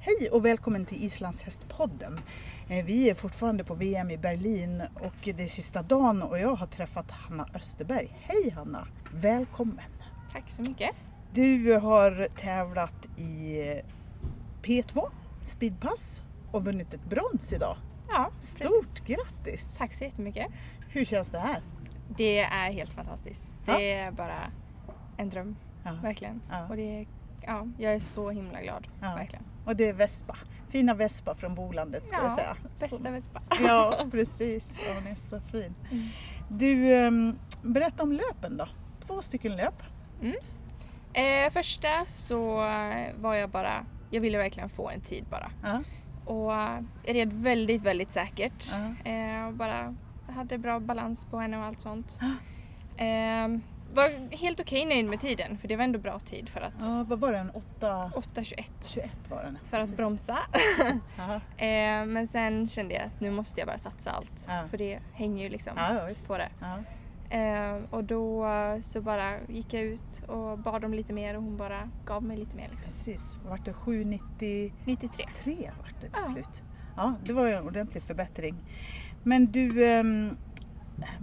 Hej och välkommen till Islandshästpodden. Eh, Vi är fortfarande på VM i Berlin och det är sista dagen och jag har träffat Hanna Österberg. Hej Hanna! Välkommen! Tack så mycket. Du har tävlat i P2, speedpass och vunnit ett brons idag. Ja, Stort grattis! Tack så jättemycket. Hur känns det här? Det är helt fantastiskt. Ja. Det är bara en dröm, Ja. verkligen. Ja. Och det är, ja, jag är så himla glad, Ja. verkligen. Och det är Vespa. Fina Vespa från Bolandet ska Ja, jag säga. Bästa Som- Vespa. Ja, precis. Ja, Hon är så fin. Mm. Du, ehm, berätta om löpen då. Två stycken löp. Eh, första så var jag bara, jag ville verkligen få en tid bara. Ja, Och jag red väldigt, väldigt säkert. Ja. Eh, och bara hade bra balans på henne och allt sånt. Ja. Eh, var helt okej nöjd med tiden, för det var ändå bra tid för att ja vad var den? 8... 8.21 21 var den. för att Precis. bromsa. Ja, Eh, men sen kände jag att nu måste jag bara satsa allt. Ja. För det hänger ju liksom ja, ja, visst. på det. Ja, Eh, och då eh, så bara gick jag ut och bad om lite mer och hon bara gav mig lite mer. Liksom. precis. Vart det 793 93. vart det till Ja. slut. Ja, det var ju en ordentlig förbättring. Men du, ehm,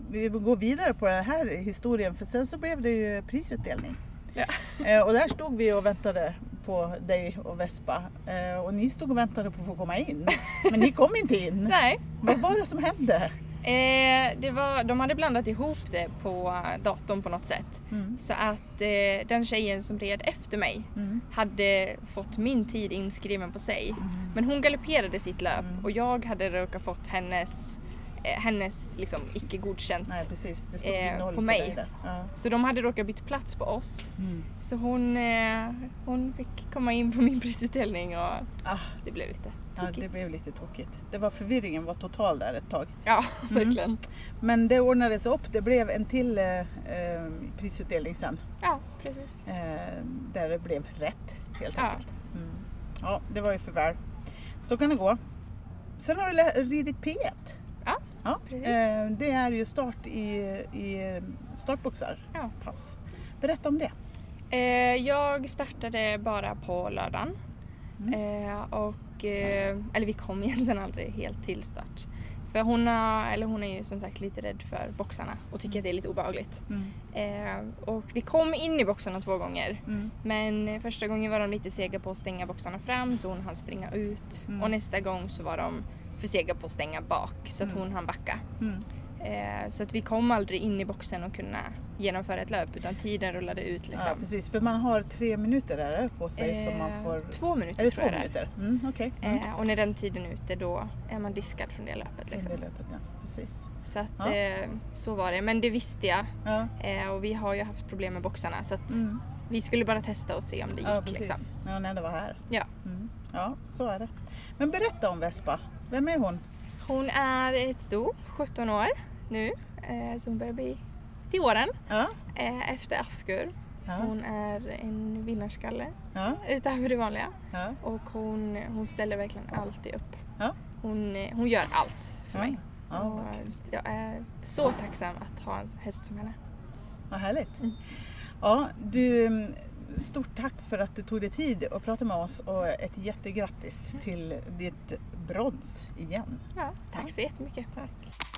vi går vidare på den här historien för sen så blev det ju prisutdelning. Ja. Eh, Och där stod vi och väntade på dig och Vespa Eh, och ni stod och väntade på att få komma in. Men ni kom inte in. Nej, Vad var det som hände? eh, det var, de hade blandat ihop det på datorn på något sätt. Mm. Så att eh, den tjejen som red efter mig Mm. hade fått min tid inskriven på sig. Mm. Men hon galopperade sitt löp Mm. och jag hade råkat fått hennes, eh, hennes liksom icke godkänt Nej precis, det stod ju Eh, noll på på mig. dig där. Ja. Så de hade råkat byta plats på oss. Mm. Så hon, eh, hon fick komma in på min prisutdelning och Ah, det blev lite ja, tokigt. det blev lite tokigt. Det var förvirringen var total där ett tag. Ja, Mm. verkligen. Men det ordnades upp, det blev en till eh, eh, prisutdelning sen. Ja, precis. Eh, där det blev rätt helt Ja. enkelt. Mm. Ja, det var ju för väl. Så kan det gå. Sen har du lä- ridit P1. Ja, ja. precis. Eh, det är ju start i, i startboxar, Ja. pass. Berätta om det. Eh, jag startade bara på lördagen. Mm. Eh, och, eh, eller vi kom egentligen aldrig helt till start. För hon, har, eller hon är ju som sagt lite rädd för boxarna och tycker att det är lite obehagligt. Mm. Eh, och vi kom in i boxarna två gånger. Mm. Men första gången var de lite sega på att stänga boxarna fram så hon hann springa ut. Mm. Och nästa gång så var de för sega på att stänga bak så att Mm. hon hann backa. Mm. Eh, så att vi kom aldrig in i boxen och kunna genomföra ett löp utan tiden rullade ut Ja, liksom. precis, för man har tre minuter där på sig som man Eh, får... Två minuter Är det tror två jag minuter? Mm, Okej. det är. Mm. Eh, och när den tiden är ute då är man diskad från det löpet. Sen Liksom. det löpet, ja. Precis. Så att Ja. eh, så var det. Men det visste jag. Ja. Eh, och vi har ju haft problem med boxarna så att Mm. vi skulle bara testa och se om det gick. Ja, liksom. precis. När hon ändå var här. Ja. Mm. Ja, så är det. Men berätta om Vespa. Vem är hon? Hon är ett sto, 17 år nu, eh, så hon börjar bli till åren. Ja. Eh, efter Askur. Ja. Hon är en vinnarskalle Ja. utöver det vanliga. Ja. Och hon, hon ställer verkligen alltid upp. Ja. Hon, eh, hon gör allt för ja. mig. Ja, och vad, kul. jag är så tacksam att ha en häst som henne. vad härligt. Mm. Ja, du, mm, stort tack för att du tog dig tid att prata med oss och ett Mm. jättegrattis till ditt brons igen. Ja, Ja. tack så jättemycket. Tack.